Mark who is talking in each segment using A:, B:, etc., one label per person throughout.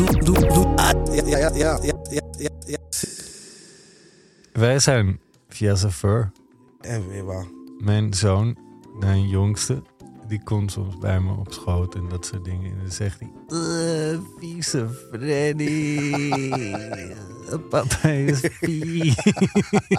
A: Ja, ja, ja, ja, ja, ja, ja.
B: Wij zijn via Safer.
A: En weer waar.
B: Mijn zoon, mijn jongste, die komt soms bij me op schoot en dat soort dingen. En dan zegt hij, "Eh, vieze Freddy. Papa is vies.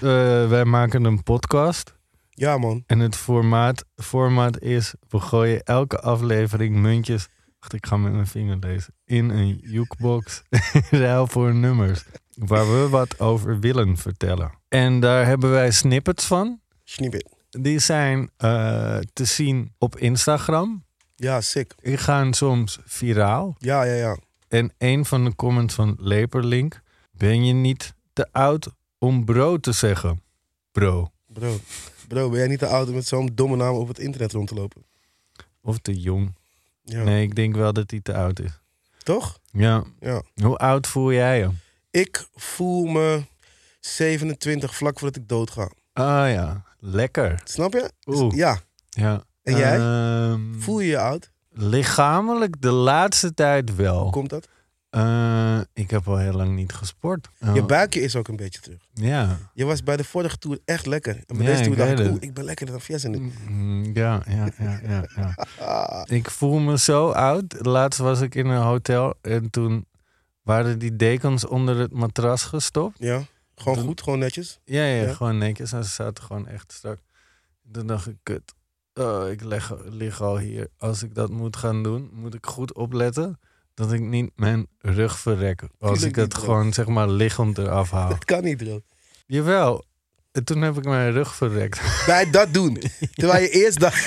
B: Eh, wij maken een podcast.
A: Ja, man.
B: En het formaat, formaat is, we gooien elke aflevering muntjes... Wacht, ik ga met mijn vinger lezen. In een jukebox, ruil voor nummers. Waar we wat over willen vertellen. En daar hebben wij snippets van.
A: Snippet.
B: Die zijn eh, te zien op Instagram.
A: Ja, sick.
B: Die gaan soms viraal.
A: Ja, ja, ja.
B: En een van de comments van Leperlink... Ben je niet te oud om bro te zeggen? Bro.
A: Bro. Bro, ben jij niet te oud om met zo'n domme naam op het internet rond te lopen?
B: Of te jong.
A: Ja.
B: Nee, ik denk wel dat hij te oud is.
A: Toch?
B: Ja.
A: Ja.
B: Hoe oud voel jij je?
A: Ik voel me 27 vlak voordat ik doodga.
B: Ah ja, lekker.
A: Snap je?
B: Oeh.
A: Ja.
B: Ja.
A: En jij?
B: Ehm,
A: Voel je je oud?
B: Lichamelijk de laatste tijd wel.
A: Hoe komt dat?
B: Eh, ik heb al heel lang niet gesport. Eh,
A: Je buikje is ook een beetje terug.
B: ja.
A: Je was bij de vorige tour echt lekker. En bij
B: Ja,
A: deze tour
B: ik
A: dacht
B: weet
A: ik,
B: het.
A: oeh, ik ben lekkerder dan Fiesta nu.
B: Mm, Ja, ja, ja, ja, ja. Ik voel me zo oud. Laatst was ik in een hotel en toen waren die dekens onder het matras gestopt.
A: Ja. Gewoon goed, gewoon netjes.
B: Ja, ja,
A: Ja.
B: gewoon netjes. En ze zaten gewoon echt strak. Toen dacht ik, kut. Oh, ik leg, lig al hier. Als ik dat moet gaan doen, moet ik goed opletten dat ik niet mijn rug verrek. Als
A: Tuurlijk
B: ik dat
A: niet, bro.
B: gewoon, zeg maar, liggend eraf haal.
A: Dat kan niet, bro.
B: Jawel. En toen heb ik mijn rug verrekt.
A: Bij dat doen. Terwijl je eerst dacht...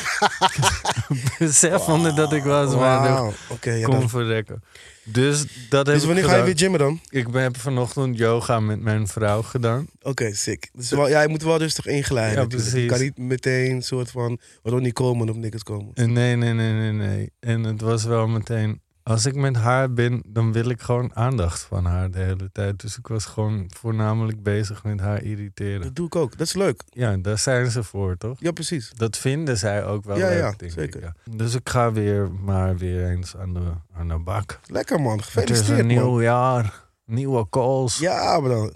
B: Beseffende dat ik wel eens mijn
A: Wauw.
B: rug
A: Oké, ja,
B: kon
A: dan-
B: verrekken. Dus dat heb
A: Dus wanneer
B: ik
A: ga je weer
B: gedaan.
A: gymmen dan?
B: Ik ben, heb vanochtend yoga met mijn vrouw gedaan.
A: Oké, sick. Dus wel, ja, je moet wel rustig ingeleiden.
B: Ja,
A: natuurlijk. Je kan
B: precies.
A: niet meteen een soort van waarom niet komen op niks komen.
B: Eh, Nee, nee, nee, nee, nee. En het was wel meteen. Als ik met haar ben, dan wil ik gewoon aandacht van haar de hele tijd. Dus ik was gewoon voornamelijk bezig met haar irriteren.
A: Dat doe ik ook. Dat is leuk.
B: Ja, daar zijn ze voor, toch?
A: Ja, precies.
B: Dat vinden zij ook wel
A: Ja,
B: leuk,
A: ja,
B: denk
A: zeker.
B: ik. ja. Dus ik ga weer maar weer eens aan de, aan de bak.
A: Lekker man.
B: Het is een
A: Gefeliciteerd man.
B: nieuw jaar, nieuwe calls. Ja.
A: Ja, bro.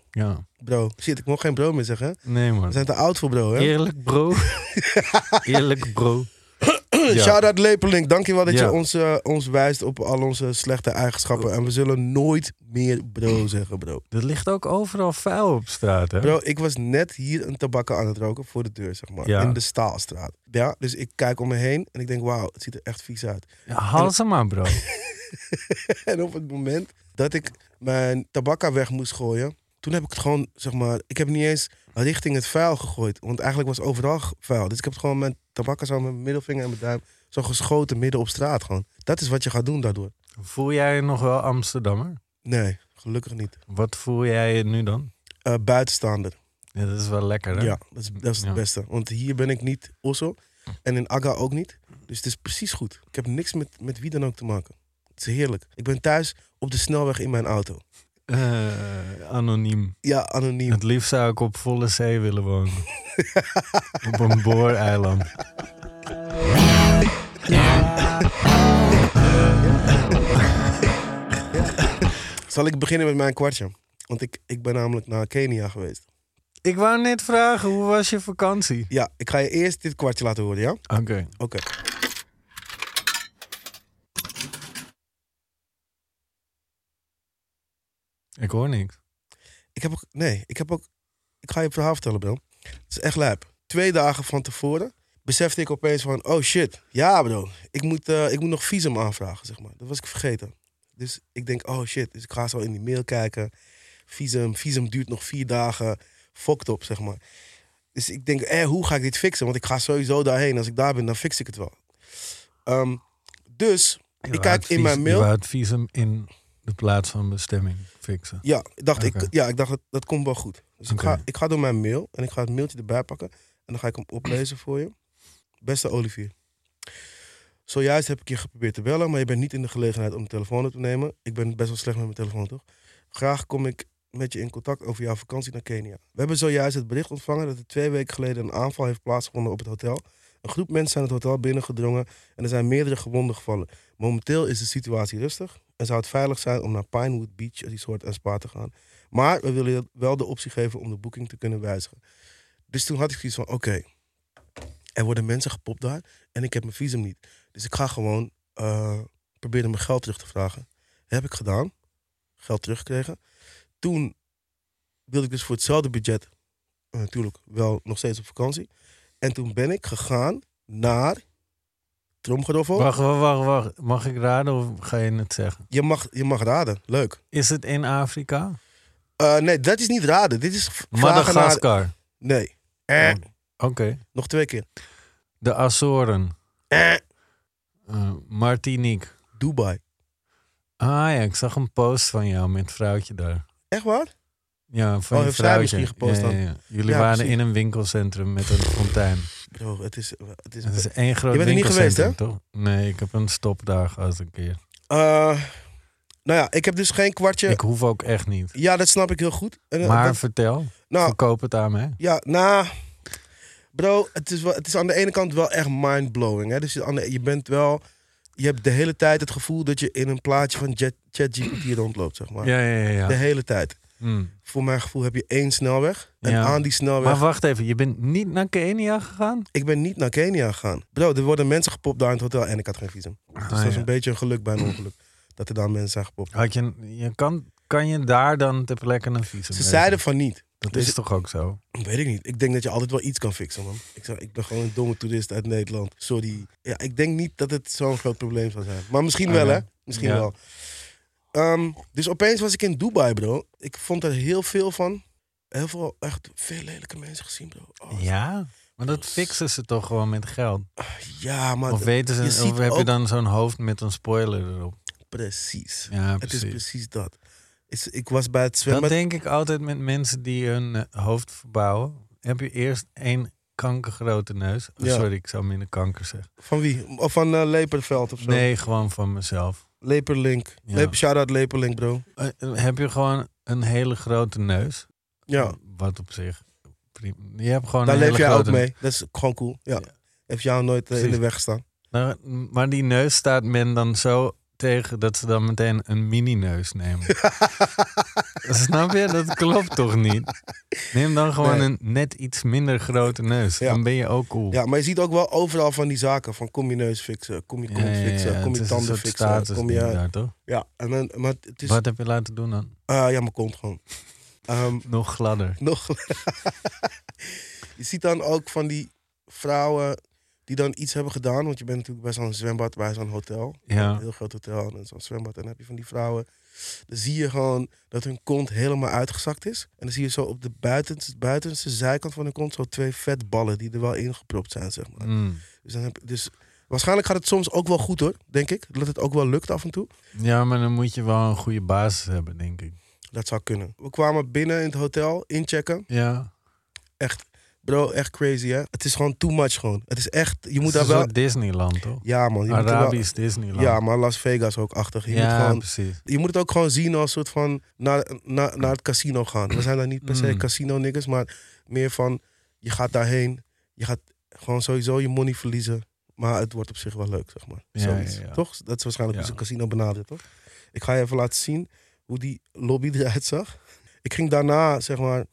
A: Bro. Shit, ik mocht geen bro meer zeggen. hè?
B: Nee,
A: We
B: man.
A: zijn te oud voor bro, hè?
B: Eerlijk, bro. Eerlijk, bro. Ja.
A: Shout-out Lepelink. Dankjewel dat
B: Ja.
A: je ons, eh, ons wijst op al onze slechte eigenschappen. En we zullen nooit meer bro zeggen, bro.
B: Er ligt ook overal vuil op straat, hè?
A: Bro, ik was net hier een tabakken aan het roken voor de deur, zeg maar.
B: Ja.
A: In de Staalstraat. Ja, dus ik kijk om me heen en ik denk, wauw, het ziet er echt vies uit.
B: Ja, haal ze maar, bro.
A: En op het moment dat ik mijn tabakka weg moest gooien, toen heb ik het gewoon, zeg maar, ik heb niet eens richting het vuil gegooid. Want eigenlijk was overal ge- vuil. Dus ik heb het gewoon mijn tabakka zo met mijn middelvinger en mijn duim zo geschoten midden op straat gewoon. Dat is wat je gaat doen daardoor.
B: Voel jij je nog wel Amsterdammer?
A: Nee, gelukkig niet.
B: Wat voel jij je nu dan?
A: Eh, buitenstaander.
B: Ja, dat is wel lekker, hè?
A: Ja, dat is, dat is het
B: Ja.
A: beste. Want hier ben ik niet osso en in Aga ook niet. Dus het is precies goed. Ik heb niks met, met wie dan ook te maken. Het is heerlijk. Ik ben thuis op de snelweg in mijn auto.
B: Eh, anoniem.
A: Ja, anoniem.
B: Het liefst zou ik op volle zee willen wonen. op een booreiland.
A: Zal ik beginnen met mijn kwartje? Want ik, ik ben namelijk naar Kenia geweest.
B: Ik wou net vragen, hoe was je vakantie?
A: Ja, ik ga je eerst dit kwartje laten horen, ja?
B: Oké.
A: Oké.
B: Ik hoor niks.
A: Ik heb ook... Nee, ik heb ook... Ik ga je het verhaal vertellen, bro. Het is echt lijp. Twee dagen van tevoren besefte ik opeens van... Oh shit, ja bro. Ik moet, eh, ik moet nog visum aanvragen, zeg maar. Dat was ik vergeten. Dus ik denk, oh shit. Dus ik ga zo in die mail kijken. Visum, visum duurt nog vier dagen. Fokt op, zeg maar. Dus ik denk, eh, hoe ga ik dit fixen? Want ik ga sowieso daarheen. Als ik daar ben, dan fix ik het wel. Ehm, dus, ik kijk in mijn mail.
B: Je wou het visum in de plaats van bestemming fixen.
A: Ja, ik dacht,
B: Oké.
A: ik, ja, ik dacht dat, dat komt wel goed. Dus
B: Oké.
A: ik, ga, ik ga door mijn mail en ik ga het mailtje erbij pakken. En dan ga ik hem oplezen voor je. Beste Olivier. Zojuist heb ik je geprobeerd te bellen, maar je bent niet in de gelegenheid om de telefoon op te nemen. Ik ben best wel slecht met mijn telefoon, toch? Graag kom ik met je in contact over jouw vakantie naar Kenia. We hebben zojuist het bericht ontvangen dat er twee weken geleden een aanval heeft plaatsgevonden op het hotel. Een groep mensen zijn het hotel binnengedrongen en er zijn meerdere gewonden gevallen. Momenteel is de situatie rustig en zou het veilig zijn om naar Pinewood Beach Resort en Spa te gaan. Maar we willen je wel de optie geven om de boeking te kunnen wijzigen. Dus toen had ik zoiets van, oké, er worden mensen gepopt daar en ik heb mijn visum niet. Dus ik ga gewoon eh, proberen mijn geld terug te vragen. heb ik gedaan. Geld teruggekregen. Toen wilde ik dus voor hetzelfde budget eh, natuurlijk wel nog steeds op vakantie. En toen ben ik gegaan naar Tromgeroffel.
B: Wacht, wacht, wacht, wacht. Mag ik raden of ga je het zeggen?
A: Je mag, je mag raden, leuk.
B: Is het in Afrika?
A: Eh, nee, dat is niet raden. Dit is v- vragen naar...
B: Madagaskar.
A: Nee. Eh,
B: Oh. Oké.
A: Nog twee keer.
B: De Azoren.
A: Eh,
B: Eh, Martinique.
A: Dubai.
B: Ah ja, ik zag een post van jou met vrouwtje daar.
A: Echt waar?
B: Ja, van
A: Oh,
B: je
A: heeft zij
B: vrouwtje.
A: misschien gepost
B: Ja, ja,
A: dan?
B: ja. Jullie
A: Ja,
B: waren
A: precies.
B: in een winkelcentrum met een fontein.
A: Bro, Oh, het is... Het is,
B: Het is één groot
A: Je bent er niet
B: winkelcentrum,
A: geweest,
B: toch? Nee, ik heb een stopdag gehad een keer.
A: Eh, nou ja, ik heb dus geen kwartje.
B: Ik hoef ook echt niet.
A: Ja, dat snap ik heel goed. En, eh,
B: Maar
A: dat-
B: vertel,
A: nou,
B: verkoop het aan mij.
A: Ja, nou. Bro, het is, wel, het is aan de ene kant wel echt mindblowing. Hè? Dus je- aan de- je bent wel. Je hebt de hele tijd het gevoel dat je in een plaatje van Jet- ChatGPT rondloopt, zeg maar.
B: Ja, ja, ja.
A: De
B: ja.
A: hele tijd.
B: Mm.
A: Voor mijn gevoel heb je één snelweg. En
B: Ja.
A: aan die snelweg.
B: Maar wacht even, je bent niet naar Kenia gegaan?
A: Ik ben niet naar Kenia gegaan. Bro, er worden mensen gepopt daar in het hotel en ik had geen visum. Dus
B: Ah,
A: dat is
B: ja.
A: een beetje een geluk bij een ongeluk. Dat er daar mensen zijn gepopt.
B: Had je, je kan, kan je daar dan ter plekke een visum
A: Ze
B: regelen?
A: zeiden van niet.
B: Dat
A: dus-
B: is toch ook zo?
A: Weet ik niet. Ik denk dat je altijd wel iets kan fixen, man. Ik, zou- ik ben gewoon een domme toerist uit Nederland. Sorry. Ja, ik denk niet dat het zo'n groot probleem zou zijn. Maar misschien wel,
B: Oké.
A: hè? Misschien
B: Ah, Ja.
A: wel. Ehm, dus opeens was ik in Dubai, bro. Ik vond er heel veel van. Heel veel, echt veel lelijke mensen gezien, bro. Oh, ja.
B: Ja, maar dat fixen ze toch gewoon met geld?
A: maar
B: Of, weten ze,
A: je ziet
B: of heb je
A: ook-
B: dan zo'n hoofd met een spoiler erop?
A: precies.
B: Ja,
A: Het
B: precies.
A: is precies dat. Is- Ik was bij het
B: dat
A: zwembad.
B: denk ik altijd met mensen die hun eh, hoofd verbouwen. Heb je eerst één kankergrote neus. Oh,
A: Ja.
B: Sorry, ik zou minder kanker zeggen.
A: Van wie? Of van eh, Leperveld of zo?
B: Nee, gewoon van mezelf.
A: Leperlink.
B: Ja.
A: Leper, shout-out Leperlink, bro.
B: Eh, eh, heb je gewoon een hele grote neus?
A: Ja,
B: Wat op zich. prim- Je hebt gewoon
A: daar
B: een
A: leef
B: hele
A: jij ook
B: grote
A: mee. Dat is gewoon cool. Ja.
B: Ja.
A: Heeft jou nooit eh, in de
B: Precies.
A: weg gestaan.
B: Nou, maar die neus staat men dan zo tegen dat ze dan meteen een mini-neus nemen. Snap je? Dat klopt toch niet? Neem dan gewoon
A: Nee.
B: een net iets minder grote neus.
A: Ja.
B: Dan ben je ook cool.
A: Ja, maar je ziet ook wel overal van die zaken. Van kom je neus fixen, kom je kont
B: het
A: fixen, kom je
B: is een
A: tanden
B: soort
A: fixen. Kom
B: statusding
A: je, Dus-
B: daar, toch?
A: ja, en dan, maar het is...
B: Wat heb je laten doen dan?
A: ah, ja, mijn kont gewoon. Ehm,
B: Nog gladder.
A: nog... je ziet dan ook van die vrouwen die dan iets hebben gedaan. Want je bent natuurlijk bij zo'n zwembad, bij zo'n hotel. Een
B: Ja.
A: heel groot hotel en zo'n zwembad. En dan heb je van die vrouwen. Dan zie je gewoon dat hun kont helemaal uitgezakt is. En dan zie je zo op de buitenste, buitenste zijkant van hun kont zo twee vetballen die er wel ingepropt zijn, zeg maar.
B: Mm.
A: Dus, dan heb, dus waarschijnlijk gaat het soms ook wel goed hoor, denk ik. Dat het ook wel lukt af en toe.
B: Ja, maar dan moet je wel een goede basis hebben, denk ik.
A: Dat zou kunnen. We kwamen binnen in het hotel, inchecken.
B: Ja.
A: Echt, bro, echt crazy hè. Het is gewoon too much gewoon. Het is echt, je moet
B: Het
A: daar
B: is een
A: wel...
B: soort Disneyland, toch?
A: Ja man, je moet er wel...
B: Arabisch Disneyland.
A: Ja, maar Las Vegas ook achter. Je,
B: Ja,
A: moet gewoon,
B: precies.
A: je moet het ook gewoon zien als soort van naar, naar, naar het casino gaan. We zijn daar niet per se
B: Mm.
A: casino niggers, maar meer van je gaat daarheen. Je gaat gewoon sowieso je money verliezen. Maar het wordt op zich wel leuk, zeg maar.
B: Ja,
A: Zoiets.
B: ja, ja.
A: Toch? Dat is waarschijnlijk dus
B: Ja.
A: hoe ze een casino benadert, toch? Ik ga je even laten zien hoe die lobby eruit zag. Ik ging daarna, zeg maar,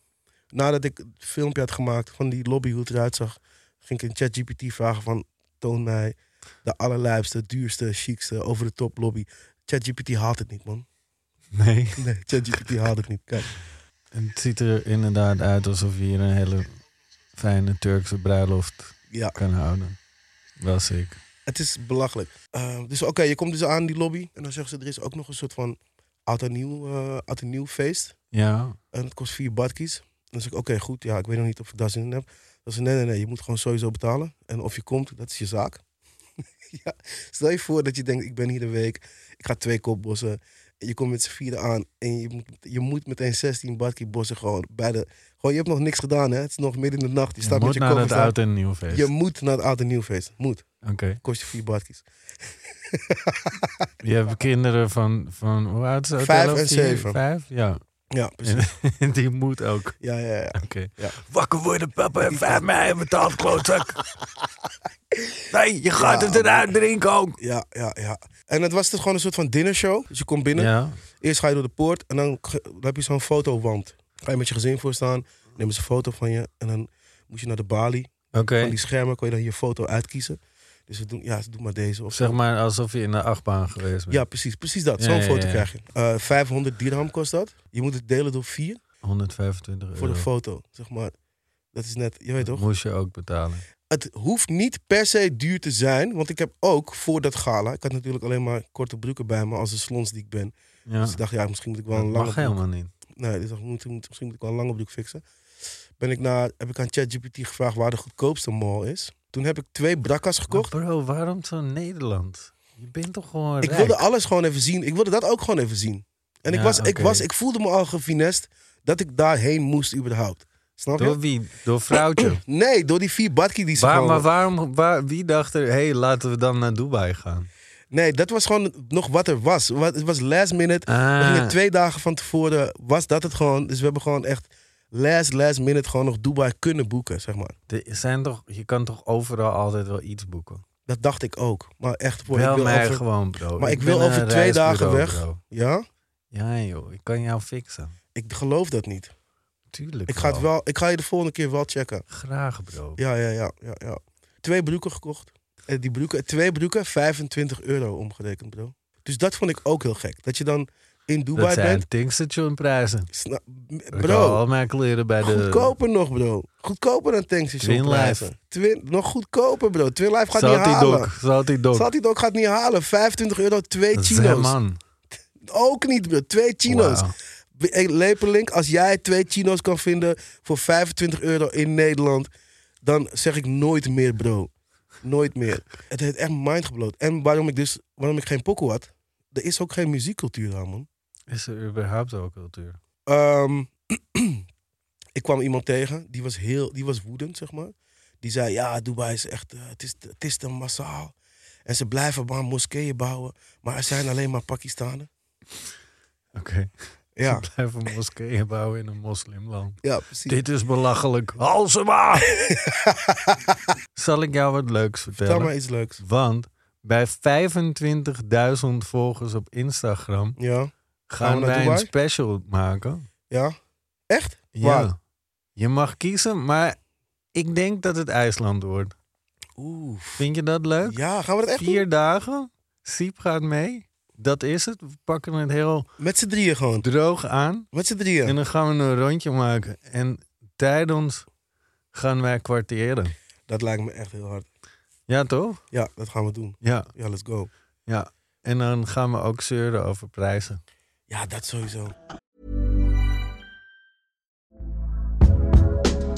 A: nadat ik het filmpje had gemaakt van die lobby, hoe het eruit zag, ging ik in ChatGPT vragen van, toon mij de allerlijpste, duurste, chicste, over de top lobby. ChatGPT haalt het niet, man.
B: Nee.
A: Nee, ChatGPT haalt het niet. Kijk.
B: Het ziet er inderdaad uit alsof je hier een hele fijne Turkse bruiloft
A: Ja,
B: kan houden. Wel zeker.
A: het is belachelijk. Eh, dus oké, je komt dus aan die lobby en dan zeggen ze, er is ook nog een soort van oud en nieuw, eh, oud en nieuw feest.
B: Ja,
A: En het kost vier badkies. Dan zeg ik, oké, goed. Ja, ik weet nog niet of ik daar zin in heb. Dan zei ze, nee, nee, nee. Je moet gewoon sowieso betalen. En of je komt, dat is je zaak. ja, stel je voor dat je denkt, ik ben hier de week. Ik ga twee kopbossen. En je komt met z'n vieren aan. En je moet, je moet meteen 16 badkie bossen gewoon bij de... Gewoon, je hebt nog niks gedaan, hè. Het is nog midden in de nacht. Je,
B: je
A: staat met
B: moet
A: je
B: naar
A: koffer.
B: het oud en nieuw feest.
A: Je moet naar het oud en nieuw feest. Moet.
B: Oké.
A: Kost je vier badkies.
B: Je hebt kinderen van, van hoe oud is het?
A: Vijf
B: Elf,
A: en
B: vier,
A: zeven.
B: Vijf, ja.
A: Ja, precies.
B: En die moet ook. Oké.
A: Ja, ja, ja. Ja.
B: Wakker worden, papa, en vijf mij betaald, klootzak. Nee, je gaat
A: Ja,
B: het eruit drinken ook.
A: Ja, ja, ja. En het was dus gewoon een soort van dinnershow. Dus je komt binnen.
B: Ja,
A: Eerst ga je door de poort en dan, ge- dan heb je zo'n fotowand. Ga je met je gezin voor staan, nemen ze een foto van je en dan moet je naar de balie.
B: oké.
A: Van die schermen kon je dan je foto uitkiezen. Dus we doen, ja, doe maar deze. Of
B: Zeg maar alsof je in de achtbaan geweest bent.
A: Ja, precies, precies dat.
B: Ja,
A: Zo'n
B: ja,
A: foto
B: ja.
A: krijg je. Eh, 500 dirham kost dat. Je moet het delen door vier
B: 125 euro.
A: voor de foto, zeg maar. Dat is net, je weet toch?
B: Moest je ook betalen.
A: het hoeft niet per se duur te zijn. Want ik heb ook voor dat gala... Ik had natuurlijk alleen maar korte broeken bij me als de slons die ik ben.
B: Ja.
A: Dus ik dacht, ja, misschien moet ik wel
B: Dat
A: een lange
B: mag
A: broek-
B: helemaal niet.
A: Nee, dus ik moet, moet- misschien moet ik wel een lange broek fixen. Ben ik naar, heb ik aan ChatGPT gevraagd waar de goedkoopste mall is. Toen heb ik twee brakkas gekocht.
B: Maar bro, waarom zo Nederland? Je bent toch gewoon
A: Ik
B: rijk?
A: wilde alles gewoon even zien. Ik wilde dat ook gewoon even zien. En ik,
B: Ja,
A: was, ik,
B: oké.
A: was, ik voelde me al gefinest dat ik daarheen moest überhaupt. Snap je?
B: Door wie? Door vrouwtje.
A: Nee, door die vier badkie die ze
B: Waar, maar
A: gewoon...
B: waarom, waar, wie dacht er, hé, hey, laten we dan naar Dubai gaan?
A: Nee, dat was gewoon nog wat er was. Wat- Het was last minute. We
B: Ah,
A: gingen twee dagen van tevoren, was dat het gewoon. Dus we hebben gewoon echt last, last minute gewoon nog Dubai kunnen boeken, zeg maar.
B: er zijn toch, je kan toch overal altijd wel iets boeken?
A: Dat dacht ik ook. Maar echt, voor ik
B: Bel
A: wil
B: mij
A: over-
B: gewoon, bro.
A: Maar ik
B: Oh, ben
A: wil
B: een
A: over twee dagen
B: reisbureau,
A: weg.
B: bro.
A: Ja?
B: Ja, joh, ik kan jou fixen.
A: Ik geloof dat niet.
B: Tuurlijk.
A: Ik ga, het wel, ik ga je de volgende keer wel checken.
B: Graag, bro.
A: Ja, ja, ja. ja, ja. Twee broeken gekocht. En die broeken, twee broeken, 25 euro omgerekend, bro. Dus dat vond ik ook heel gek. Dat je dan in
B: dat
A: Dubai
B: zijn
A: bent.
B: tankstationprijzen.
A: Sna- m-
B: Ik haal
A: bro,
B: al mijn kleren bij de...
A: goedkoper nog, bro. Goedkoper dan tankstation.
B: Twin Life.
A: prijzen. Twin, nog goedkoper, bro. Twin Life gaat niet
B: Salty
A: halen.
B: Dog. Salty Dog.
A: Salty Dog gaat niet halen. 25 euro, twee
B: Dat is
A: chino's.
B: man.
A: Ook niet, bro. Twee chino's.
B: Wauw.
A: Hey, Lepelink, als jij twee chino's kan vinden voor 25 euro in Nederland, dan zeg ik nooit meer, bro. Nooit meer. Het heeft echt mindgebloot. En waarom ik dus, waarom ik geen pokoe had, er is ook geen muziekcultuur aan, man.
B: Is er überhaupt ook cultuur?
A: Ehm, ik kwam iemand tegen, die was heel, die was woedend, zeg maar. Die zei, ja, Dubai is echt, eh, het, is, het is te massaal. En ze blijven maar moskeeën bouwen, maar er zijn alleen maar Pakistanen.
B: Oké.
A: Ja,
B: Ze blijven moskeeën bouwen in een moslimland.
A: ja precies.
B: Dit is belachelijk. Haal ze maar! Zal ik jou wat leuks
A: Vertel
B: vertellen?
A: maar iets leuks.
B: Want bij 25.000 volgers op Instagram
A: Ja,
B: gaan
A: we naar
B: wij een
A: Dubai?
B: special maken.
A: ja. Echt? Waar?
B: Ja. Je mag kiezen, maar ik denk dat het IJsland wordt.
A: Oeh.
B: Vind je dat leuk?
A: Ja, gaan we dat echt doen?
B: Vier dagen. Siep gaat mee. Dat is het. We pakken het heel
A: Met z'n drieën gewoon.
B: droog aan.
A: Met z'n drieën.
B: En dan gaan we een rondje maken. En tijdens gaan wij kwartieren.
A: Dat lijkt me echt heel hard.
B: Ja, toch?
A: Ja, dat gaan we doen.
B: Ja,
A: Ja, let's go.
B: ja. En dan gaan we ook zeuren over prijzen.
A: Ja, dat sowieso.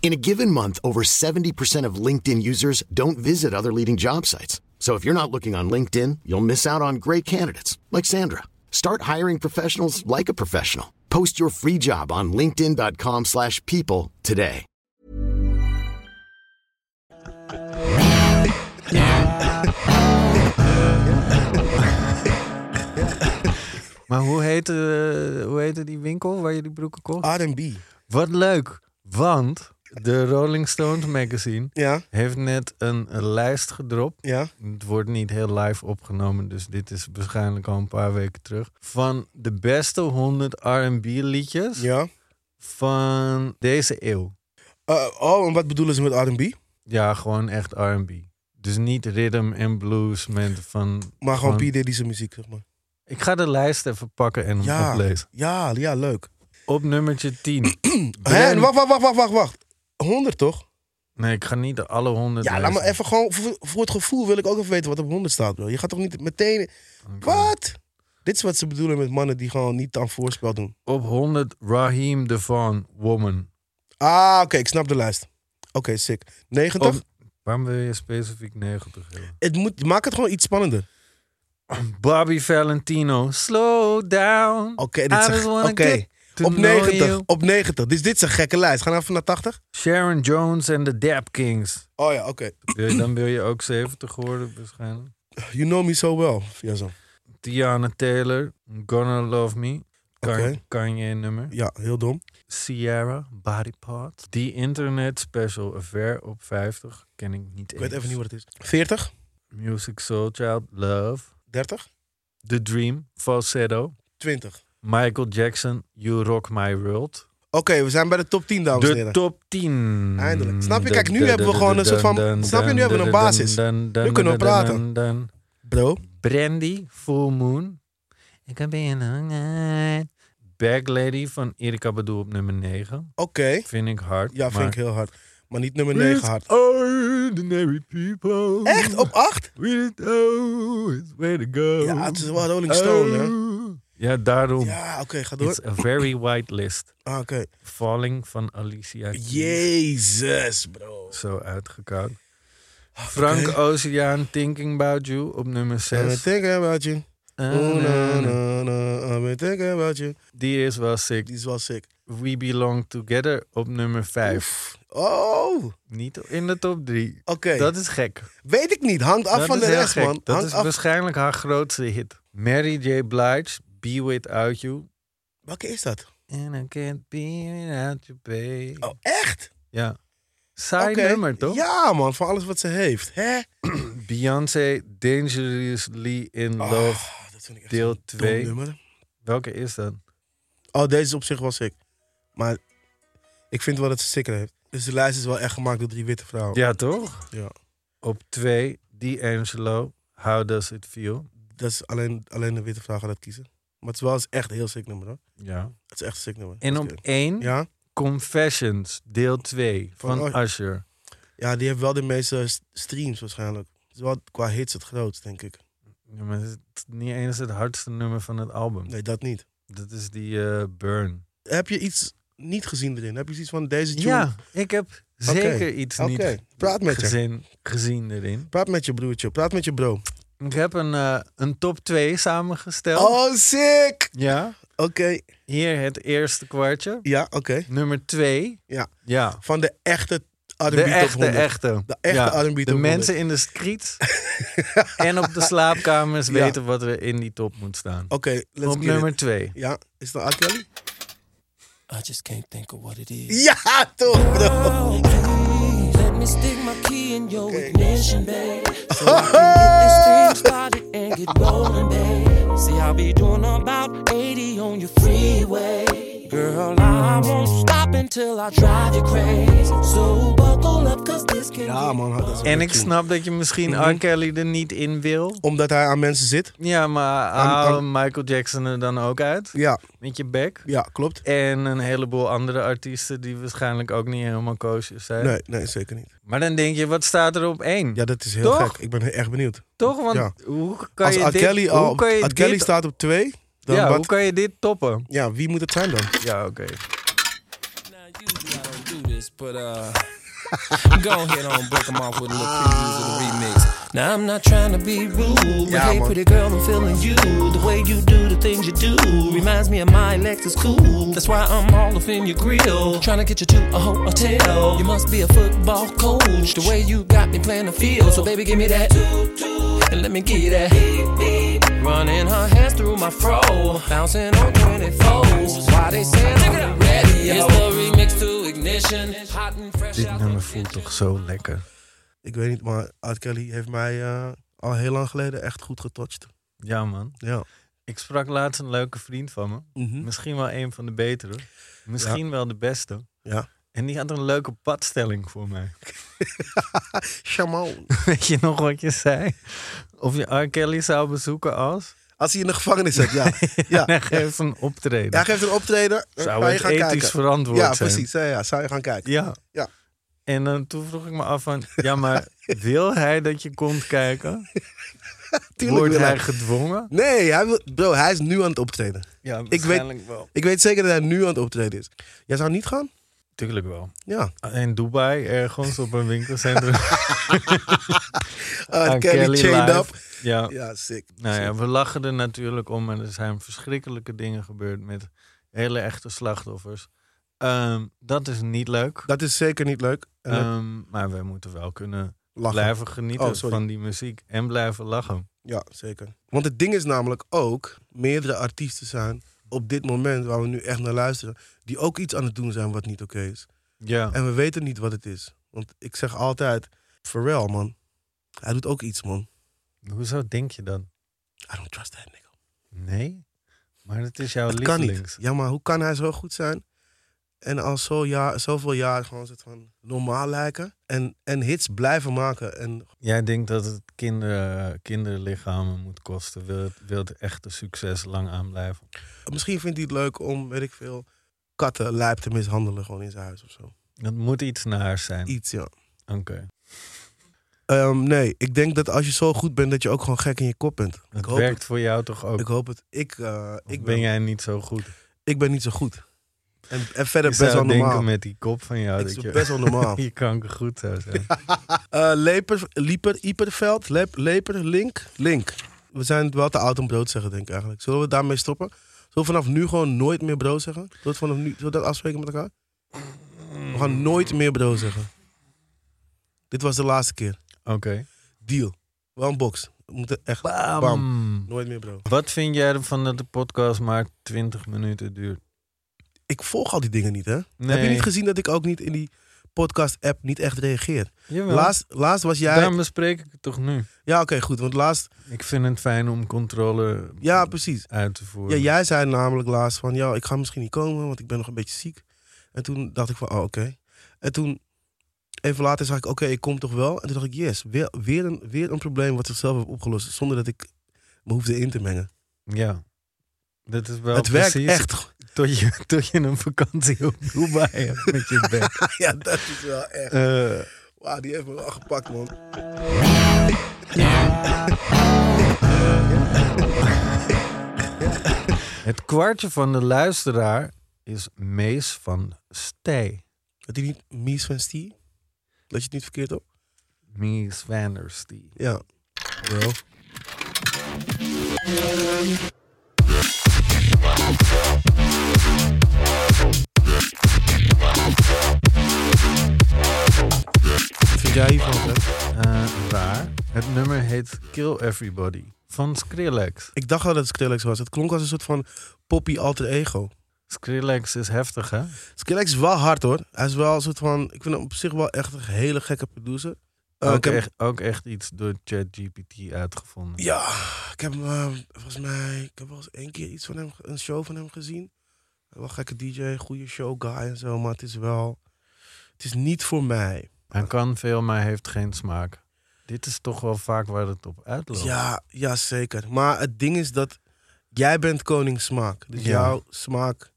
C: In a given month, over 70% of LinkedIn users don't visit other leading job sites. So if you're not looking on LinkedIn, you'll miss out on great candidates like Sandra. Start hiring professionals like a professional. Post your free job on linkedin.com/people slash people today.
B: Maar hoe heette, eh, hoe heette die winkel waar je die broeken kocht?
A: Ah. R&B.
B: Wat leuk, want de Rolling Stones magazine
A: Ja,
B: heeft net een, een lijst gedropt.
A: ja.
B: Het wordt niet heel live opgenomen, dus dit is waarschijnlijk al een paar weken terug. Van de beste 100 R&B liedjes
A: Ja.
B: van deze eeuw.
A: Eh, oh, en wat bedoelen ze met R&B?
B: Ja, gewoon echt R&B. Dus niet rhythm en blues met van...
A: Maar gewoon P.
B: van-
A: Diddy's muziek, zeg maar.
B: Ik ga de lijst even pakken en hem
A: Ja.
B: oplezen.
A: Ja, ja, leuk.
B: Op nummertje 10.
A: Hè,
B: Brand-
A: wacht, wacht, wacht, wacht, wacht, wacht. 100 toch?
B: Nee, ik ga niet de alle 100
A: Ja, laat
B: lezen.
A: maar even gewoon, voor, voor het gevoel wil ik ook even weten wat op 100 staat, bro. Je gaat toch niet meteen... Wat? Dit is wat ze bedoelen met mannen die gewoon niet aan voorspel doen.
B: Op 100 Raheem Devon, Woman.
A: Ah, oké, ik snap de lijst. Oké, sick. 90?
B: Op- Waarom wil je specifiek 90 hebben?
A: Het moet, maak het gewoon iets spannender.
B: Bobby Valentino, slow down.
A: Oké, dit Ah, is
B: I
A: een-
B: just wanna
A: oké.
B: get to
A: Op
B: know
A: 90,
B: you.
A: op 90. Dus dit is een gekke lijst. Gaan we even naar 80?
B: Sharon Jones en de Dap Kings.
A: Oh ja, oké.
B: Wil je- Dan wil je ook 70 worden waarschijnlijk.
A: You know me so well. Ja, zo.
B: Tiana Taylor, Gonna Love Me. Kan,
A: Oké.
B: Kanye nummer.
A: Ja, heel dom.
B: Sierra, Body Part. The Internet Special Affair op 50. Ken ik niet
A: Ik weet even niet wat het is. 40?
B: Music Soul Child, Love.
A: 30?
B: The Dream, Falsetto.
A: 20. Oké,
B: Michael Jackson, You Rock My World.
A: we zijn bij de top 10, dames en
B: De
A: heren.
B: top 10.
A: Eindelijk. Snap je?
B: Dun,
A: Kijk, nu
B: dun,
A: hebben we
B: dun,
A: gewoon
B: dun,
A: een soort van-
B: dun,
A: snap je? Nu
B: dun,
A: hebben we een
B: dun,
A: basis.
B: dun, dun, dun,
A: Nu kunnen we
B: dun, dun,
A: praten.
B: dun.
A: Bro,
B: Brandy, Full Moon. Ik heb een honger. Bag Lady van Erika Badu op nummer 9.
A: oké.
B: Vind ik hard.
A: Ja, vind
B: maar- Oh.
A: ik heel hard. Maar niet nummer 9 hard.
B: Ordinary people.
A: Echt? Op 8?
B: We don't know it's way to go. Oh.
A: Ja, het is wel Rolling Stone, hè?
B: Ja, daarom.
A: Ja, oké, ga door.
B: It's a very wide list.
A: Ah, oké.
B: Falling van Alicia Keys.
A: Jezus, bro. Ah,
B: Zo uitgekoud. Frank oh, Oceaan, Thinking About You op nummer
A: I've been
B: 6.
A: thinking about you. Ooh, Eh, Oh, na, na, na. I've been thinking about you.
B: Die is wel sick.
A: Die is wel sick.
B: We Belong Together op nummer 5.
A: Oh, oké.
B: Niet in de top 3. Dat is gek.
A: Weet ik niet. Hangt af
B: dat
A: van
B: is
A: de
B: heel
A: rest,
B: gek.
A: man.
B: Dat
A: Hangt
B: is
A: af.
B: waarschijnlijk haar grootste hit. Mary J. Blige, Be Without You.
A: Welke is dat?
B: And I can't be without you, babe.
A: Oh, echt?
B: Ja. Saai
A: Oké.
B: nummer, toch?
A: Ja, man. Van alles wat ze heeft. Hè?
B: Beyoncé, Dangerously in Love.
A: Ah, dat vind ik echt
B: deel
A: zo'n dom
B: twee.
A: nummer.
B: Welke is dat?
A: Oh, deze is op zich wel sick. Maar ik vind wel dat ze sicker heeft. Dus de lijst is wel echt gemaakt door drie witte vrouwen.
B: Ja, toch?
A: Ja.
B: Op twee, D'Angelo, How Does It Feel?
A: Dat is alleen, alleen de witte vrouw gaat dat kiezen. Maar het is wel eens echt een heel sick nummer, hoor.
B: Ja.
A: Het is echt een sick nummer.
B: En op één,
A: Ja? Oh.
B: Confessions, deel 2 van,
A: Van-
B: Usher.
A: Ja, die heeft wel de meeste s- streams waarschijnlijk. Het is wel qua hits het grootst, denk ik.
B: Ja, maar het is niet eens het hardste nummer van het album.
A: Nee, dat niet.
B: Dat is die eh, Burn.
A: Heb je iets niet gezien erin? Heb je iets van deze tune?
B: Ja, ik heb zeker iets
A: Oké,
B: niet
A: praat met je.
B: gezien, gezien erin.
A: Praat met je broertje, praat met je bro.
B: Ik heb een, eh, een top 2 samengesteld.
A: Oh, sick!
B: Ja.
A: Oké.
B: Hier het eerste kwartje.
A: Ja, oké.
B: Nummer 2.
A: Ja.
B: Ja.
A: Van de echte R&B
B: De
A: top
B: echte,
A: 100.
B: echte.
A: De echte
B: Ja.
A: R&B top
B: De
A: 100.
B: mensen in de streets en op de slaapkamers
A: Ja.
B: weten wat er in die top moet staan.
A: Oké, let's
B: op
A: get
B: nummer
A: it.
B: 2.
A: Ja, is dat R. Kelly?
D: I just can't think of what it is.
A: Ja, toch, bro.
D: Let me stick my key in your ignition, babe. So I can get this thing started and get rolling, babe. See, I'll be doing about 80 on your freeway. Girl, Girl, I won't stop until I drive you crazy. So buckle up, cause this can
A: Ja,
D: get
A: man. Dat is
B: En
A: wel
B: ik
A: cute.
B: snap dat je misschien
A: Mhm.
B: R. Kelly er niet in wil.
A: Omdat hij aan mensen zit.
B: Ja, maar
A: Aan-
B: haal
A: aan-
B: Michael Jackson er dan ook uit?
A: Ja,
B: Met je bek?
A: ja klopt.
B: En een heleboel andere artiesten die waarschijnlijk ook niet helemaal koosjes zijn.
A: Nee, nee, zeker niet.
B: Maar dan denk je, wat staat er op één?
A: Ja, dat is heel
B: Toch?
A: gek. Ik ben echt benieuwd.
B: Toch? Want
A: Ja.
B: hoe kan
A: Als
B: je
A: R.
B: dit...
A: Kelly,
B: hoe
A: al,
B: kan je
A: R. Kelly
B: dit-
A: staat op twee, dan
B: Ja, hoe
A: wat,
B: kan je dit toppen?
A: ja, wie moet het zijn dan?
B: Ja, oké.
D: Now, usually I don't do this, but uh, go ahead on break 'em off with a little previews of the remix. Now, I'm not trying to be rude, but
A: Yeah,
D: hey,
A: man.
D: pretty girl, I'm feeling you. The way you do the things you do reminds me of my Lexus cool. That's why I'm all up in your grill, trying to get you to a hotel. You must be a football coach, the way you got me playing the field. So, baby, give me that. And let me give you that. Running her hands through my fro, bouncing on 24s. Why they saying I'm ready? It's the remix to ignition, hot and fresh.
B: Dit
D: out
B: nummer
D: the
B: voelt
D: kitchen.
B: toch zo lekker.
A: Ik weet niet, maar R. Kelly heeft mij eh, al heel lang geleden echt goed getouched.
B: Ja, man.
A: Ja.
B: Ik sprak laatst een leuke vriend van me.
A: Mhm.
B: Misschien wel een van de betere. Misschien wel de beste.
A: Ja.
B: En die had een leuke padstelling voor mij.
A: Shaman.
B: Weet je nog wat je zei? Of je R. Kelly zou bezoeken als...
A: Als hij in de gevangenis zit, ja. ja.
B: En hij geeft een optreden.
A: Hij geeft een optreden, dan
B: Zou
A: kan je
B: het
A: gaan
B: ethisch
A: kijken.
B: verantwoord
A: ja,
B: zijn?
A: Precies, ja, ja, zou je gaan kijken.
B: Ja.
A: Ja.
B: En dan toen vroeg ik me af van... Ja, maar wil hij dat je komt kijken?
A: Tuurlijk
B: Wordt
A: wil
B: hij
A: hij.
B: gedwongen?
A: Nee, hij wil, bro, hij is nu aan het optreden.
B: Ja,
A: weet- waarschijnlijk
B: wel.
A: Ik weet zeker dat hij nu aan het optreden is. Jij zou niet gaan?
B: Tuurlijk wel.
A: Ja.
B: In Dubai, ergens op een winkelcentrum.
A: Uh,
B: R.
A: Kelly chained
B: Ah, live.
A: up.
B: Ja.
A: Ja, sick.
B: Nou ja, we lachen er natuurlijk om. En er zijn verschrikkelijke dingen gebeurd met hele echte slachtoffers. Ehm, dat is niet leuk.
A: Dat is zeker niet leuk. En dat-
B: Ehm, maar we moeten wel kunnen
A: lachen.
B: blijven genieten
A: Oh, sorry.
B: van die muziek. En blijven lachen.
A: Ja, zeker. Want het ding is namelijk ook, meerdere artiesten zijn op dit moment, waar we nu echt naar luisteren, die ook iets aan het doen zijn wat niet oké is.
B: Ja.
A: En we weten niet wat het is. Want ik zeg altijd, Pharrell man, hij doet ook iets man.
B: Hoezo denk je dat?
A: I don't trust that nigga.
B: Nee? Maar het is jouw
A: Het kan niet.
B: lievelings.
A: Ja, maar hoe kan hij zo goed zijn? En al zo jaar, zoveel jaar gewoon soort van normaal lijken. En, en hits blijven maken. En
B: Jij denkt dat het kinder, eh, kinderlichamen moet kosten. Wil het, wil het echte succes lang aanblijven?
A: misschien vindt hij het leuk om, weet ik veel, katten lijp te mishandelen gewoon in zijn huis of zo.
B: Dat moet iets naars zijn.
A: Iets, ja.
B: Oké.
A: Ehm, nee, ik denk dat als je zo goed bent, dat je ook gewoon gek in je kop bent. Ik
B: Het
A: hoop
B: werkt
A: het.
B: voor jou toch ook?
A: Ik hoop het. Ik, eh,
B: Of
A: ik,
B: ben
A: ben,
B: jij niet zo goed?
A: ik ben niet zo goed. En, en verder
B: Ik
A: best wel
B: zou denken
A: normaal.
B: met die kop van jou
A: Ik
B: dat
A: doe
B: je
A: best wel normaal.
B: je kanker goed zou zijn.
A: Eh Leper, Lieper, Ieperveld, Lep, Leper, Link, Link. We zijn wel te oud om brood te zeggen, denk ik eigenlijk. Zullen we daarmee stoppen? Zullen we vanaf nu gewoon nooit meer brood zeggen? Zullen we, het vanaf nu, zullen we dat afspreken met elkaar? We gaan nooit meer brood zeggen. Dit was de laatste keer.
B: Oké.
A: Deal. Wel een box. We moeten echt...
B: Bam.
A: Bam. Nooit meer brood.
B: Wat vind jij ervan dat de podcast maar 20 minuten duurt?
A: ik volg al die dingen niet, hè?
B: Nee.
A: Heb je niet gezien dat ik ook niet in die podcast-app niet echt reageer?
B: Jawel.
A: Laatst, laatst was jij...
B: Daarom bespreek ik het toch nu.
A: Ja, oké, goed. Want laatst...
B: Ik vind het fijn om controle
A: Ja, precies.
B: uit te voeren.
A: Ja, jij zei namelijk laatst van... Ja, ik ga misschien niet komen, want ik ben nog een beetje ziek. En toen dacht ik van, oh, oké. En toen... Even later zag ik, oké, ik kom toch wel. En toen dacht ik, yes, weer, weer, een, weer een probleem wat zichzelf heeft opgelost. Zonder dat ik me hoefde in te mengen.
B: Ja. Dat is wel
A: het werkt
B: precies
A: echt.
B: Tot, je, tot je een vakantie op Dubai hebt met je bek.
A: Ah, ja, dat is wel echt.
B: Eh,
A: Wauw, die heeft me wel gepakt, man.
B: het kwartje van de luisteraar is Mees van Stij.
A: Dat hij niet Mies van Stie? Dat je het niet verkeerd op?
B: Mees van der Stee.
A: Ja. Wel. Vind jij hiervan, hè?
B: Eh, raar. Het nummer heet Kill Everybody van Skrillex.
A: Ik dacht al dat het Skrillex was. Het klonk als een soort van poppy alter ego.
B: Skrillex is heftig, hè?
A: Skrillex is wel hard hoor. Hij is wel een soort van. Ik vind hem op zich wel echt een hele gekke producer. Eh, ik
B: ook,
A: heb-
B: echt, ook echt iets door ChatGPT uitgevonden.
A: Ja, ik heb hem, eh, volgens mij, ik heb wel eens één keer iets van hem, ge- een show van hem gezien. En Wel gekke DJ, goede show guy en zo. Maar het is wel... Het is niet voor mij.
B: Hij kan veel, maar hij heeft geen smaak. Dit is toch wel vaak waar het op uitloopt.
A: Ja, ja, zeker. Maar het ding is dat jij bent koning smaak. Dus
B: Ja.
A: jouw smaak,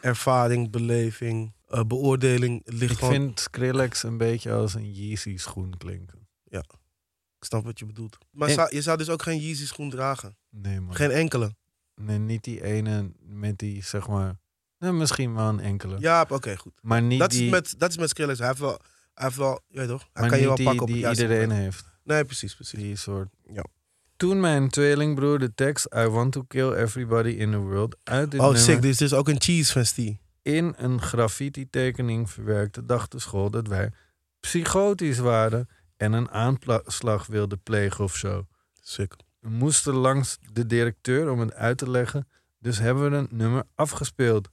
A: ervaring, beleving, eh, beoordeling ligt
B: Ik
A: gewoon...
B: vind Skrillex een beetje als een Yeezy schoen klinken.
A: Ik snap wat je bedoelt. Maar
B: En-
A: zou- je zou dus ook geen Yeezy schoen dragen.
B: Nee, man.
A: Geen enkele.
B: Nee, niet die ene met die, zeg maar... Nee, misschien wel een enkele.
A: Ja, oké, goed.
B: Maar niet
A: Dat
B: die,
A: is, met, dat is met Skrillex. Hij heeft wel... Hij heeft wel, je weet toch? Hij
B: maar
A: kan
B: niet
A: je wel
B: die,
A: pakken op
B: die
A: het juiste
B: iedereen
A: moment.
B: heeft.
A: Nee, precies, precies.
B: Die soort.
A: Ja.
B: Toen mijn tweelingbroer de tekst I want to kill everybody in the world uit dit
A: oh,
B: nummer
A: sick. Dus dit is ook een cheese festie.
B: in een graffiti tekening verwerkte, dacht de school dat wij psychotisch waren en een aanslag wilden plegen of zo.
A: Sick.
B: We moesten langs de directeur om het uit te leggen, dus hebben we het nummer afgespeeld.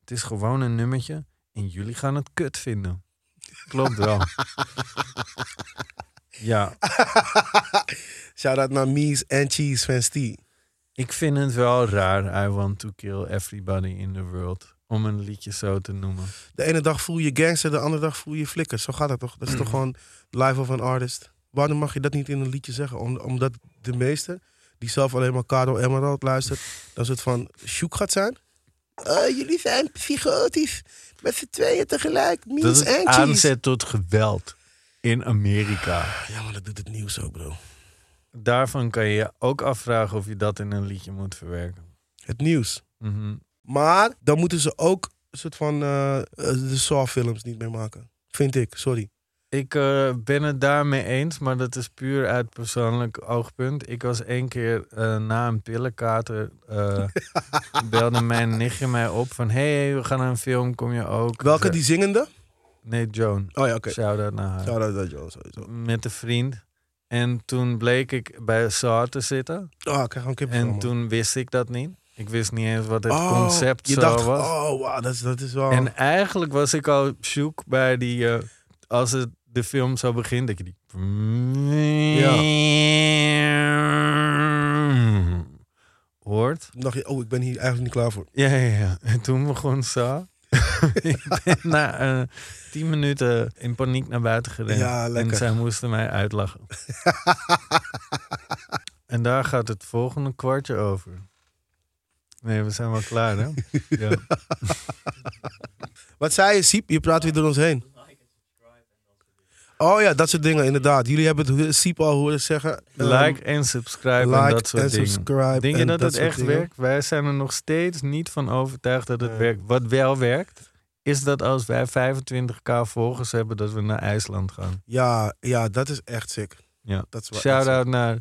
B: Het is gewoon een nummertje en jullie gaan het kut vinden. Klopt wel. ja,
A: Shout-out naar Mies en Cheese festie.
B: ik vind het wel raar, I want to kill everybody in the world, om een liedje zo te noemen.
A: De ene dag voel je gangster, de andere dag voel je flikker. Zo gaat dat toch? Dat is
B: Mm.
A: toch gewoon life of an artist. Waarom mag je dat niet in een liedje zeggen? Om, omdat de meester, die zelf alleen maar Caro Emerald luistert, dat het van shoek gaat zijn. Oh, jullie zijn psychotisch. Met z'n tweeën tegelijk.
B: Dat
A: Mies
B: het
A: en cheese.
B: aanzet tot geweld in Amerika.
A: Ah, Ja, maar dat doet het nieuws ook, bro.
B: Daarvan kan je je ook afvragen of je dat in een liedje moet verwerken.
A: Het nieuws.
B: Mhm.
A: Maar dan moeten ze ook een soort van eh, eh, de Saw-films niet meer maken. Vind ik, sorry.
B: Ik eh, ben het daarmee eens, maar dat is puur uit persoonlijk oogpunt. Ik was één keer eh, na een pillenkater, eh, belde mijn nichtje mij op van... hey, we gaan naar een film, kom je ook?
A: Welke,
B: Ze-
A: die zingende?
B: Nee, Joan.
A: Oh ja, oké.
B: Shout-out naar haar.
A: Shout-out naar Joe, sowieso.
B: Met een vriend. En toen bleek ik bij Saar te zitten.
A: Ah, ik krijg gewoon kippenvel,
B: En
A: man.
B: toen wist ik dat niet. Ik wist niet eens wat het
A: Oh,
B: concept
A: je
B: zo
A: dacht,
B: was.
A: Oh, wauw, dat is, dat is wel...
B: En eigenlijk was ik al zoek bij die. eh, als het de film zou beginnen, dat je die. hoort.
A: Toen dacht je, oh, ik ben hier eigenlijk niet klaar voor.
B: Ja, ja, ja. En toen begon Sa. ik ben na eh, tien minuten in paniek naar buiten gerend.
A: Ja,
B: en
A: lekker.
B: zij moesten mij uitlachen. en daar gaat het volgende kwartje over. Nee, we zijn wel klaar, hè? ja.
A: Wat zei je, Siep? Je praat weer door ons heen. Oh ja, dat soort dingen, inderdaad. Jullie hebben het ho- Siep al horen zeggen. Ehm,
B: Like en subscribe en
A: like
B: dat soort
A: en
B: dingen.
A: subscribe
B: Denk je
A: en
B: dat,
A: dat
B: het
A: soort
B: echt
A: dingen?
B: werkt? Wij zijn er nog steeds niet van overtuigd dat het
A: Nee.
B: werkt. Wat wel werkt, is dat als wij 25k volgers hebben, dat we naar IJsland gaan.
A: Ja, ja, dat is echt sick.
B: Ja.
A: Dat is wel echt
B: Shout-out naar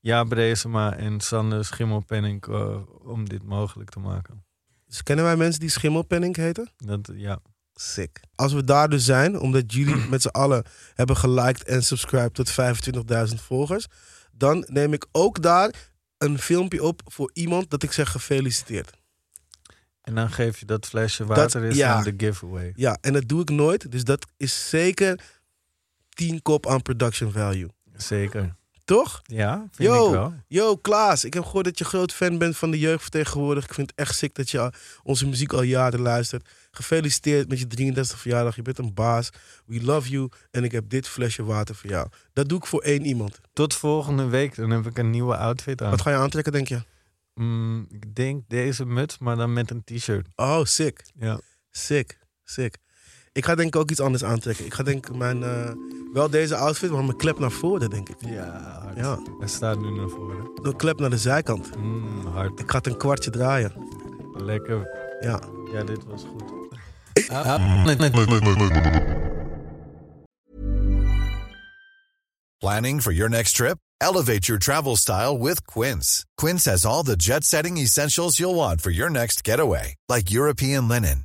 B: Jaap Bresema en Sander Schimmelpenning eh, om dit mogelijk te maken.
A: sick. Dus kennen wij mensen die schimmelpenning heten?
B: Dat, ja.
A: Sick. Als we daar dus zijn, omdat jullie met z'n allen hebben geliked en subscribed tot 25.000 volgers, dan neem ik ook daar een filmpje op voor iemand dat ik zeg gefeliciteerd.
B: En dan geef je dat flesje water is
A: ja.
B: aan de giveaway.
A: Ja, en dat doe ik nooit. Dus dat is zeker 10 kop aan production value.
B: Zeker.
A: Toch?
B: Ja, vind ik
A: Yo,
B: wel.
A: yo, Klaas, ik heb gehoord dat je groot fan bent van de jeugdvertegenwoordig. Ik vind het echt sick dat je al- onze muziek al jaren luistert. Gefeliciteerd met je 33 verjaardag. Je bent een baas. We love you. En ik heb dit flesje water voor jou. Dat doe ik voor één iemand.
B: Tot volgende week, dan heb ik een nieuwe outfit aan.
A: Wat ga je aantrekken, denk je?
B: Mm, ik denk deze muts, maar dan met een t-shirt.
A: Oh, sick.
B: Ja.
A: Sick. Sick. Ik ga denk ik ook iets anders aantrekken. Ik ga denk ik mijn... eh, wel deze outfit, maar mijn klep naar voren, denk ik.
B: Ja, hard.
A: Ja.
B: Hij staat nu naar voren.
A: De klep naar de zijkant.
B: Mm, hard.
A: Ik ga het een kwartje draaien.
B: Lekker.
A: Ja.
B: Ja, dit was goed.
E: Planning for your next trip? Elevate your travel style with Quince. Quince has all the jet setting essentials you'll want for your next getaway, like European linen,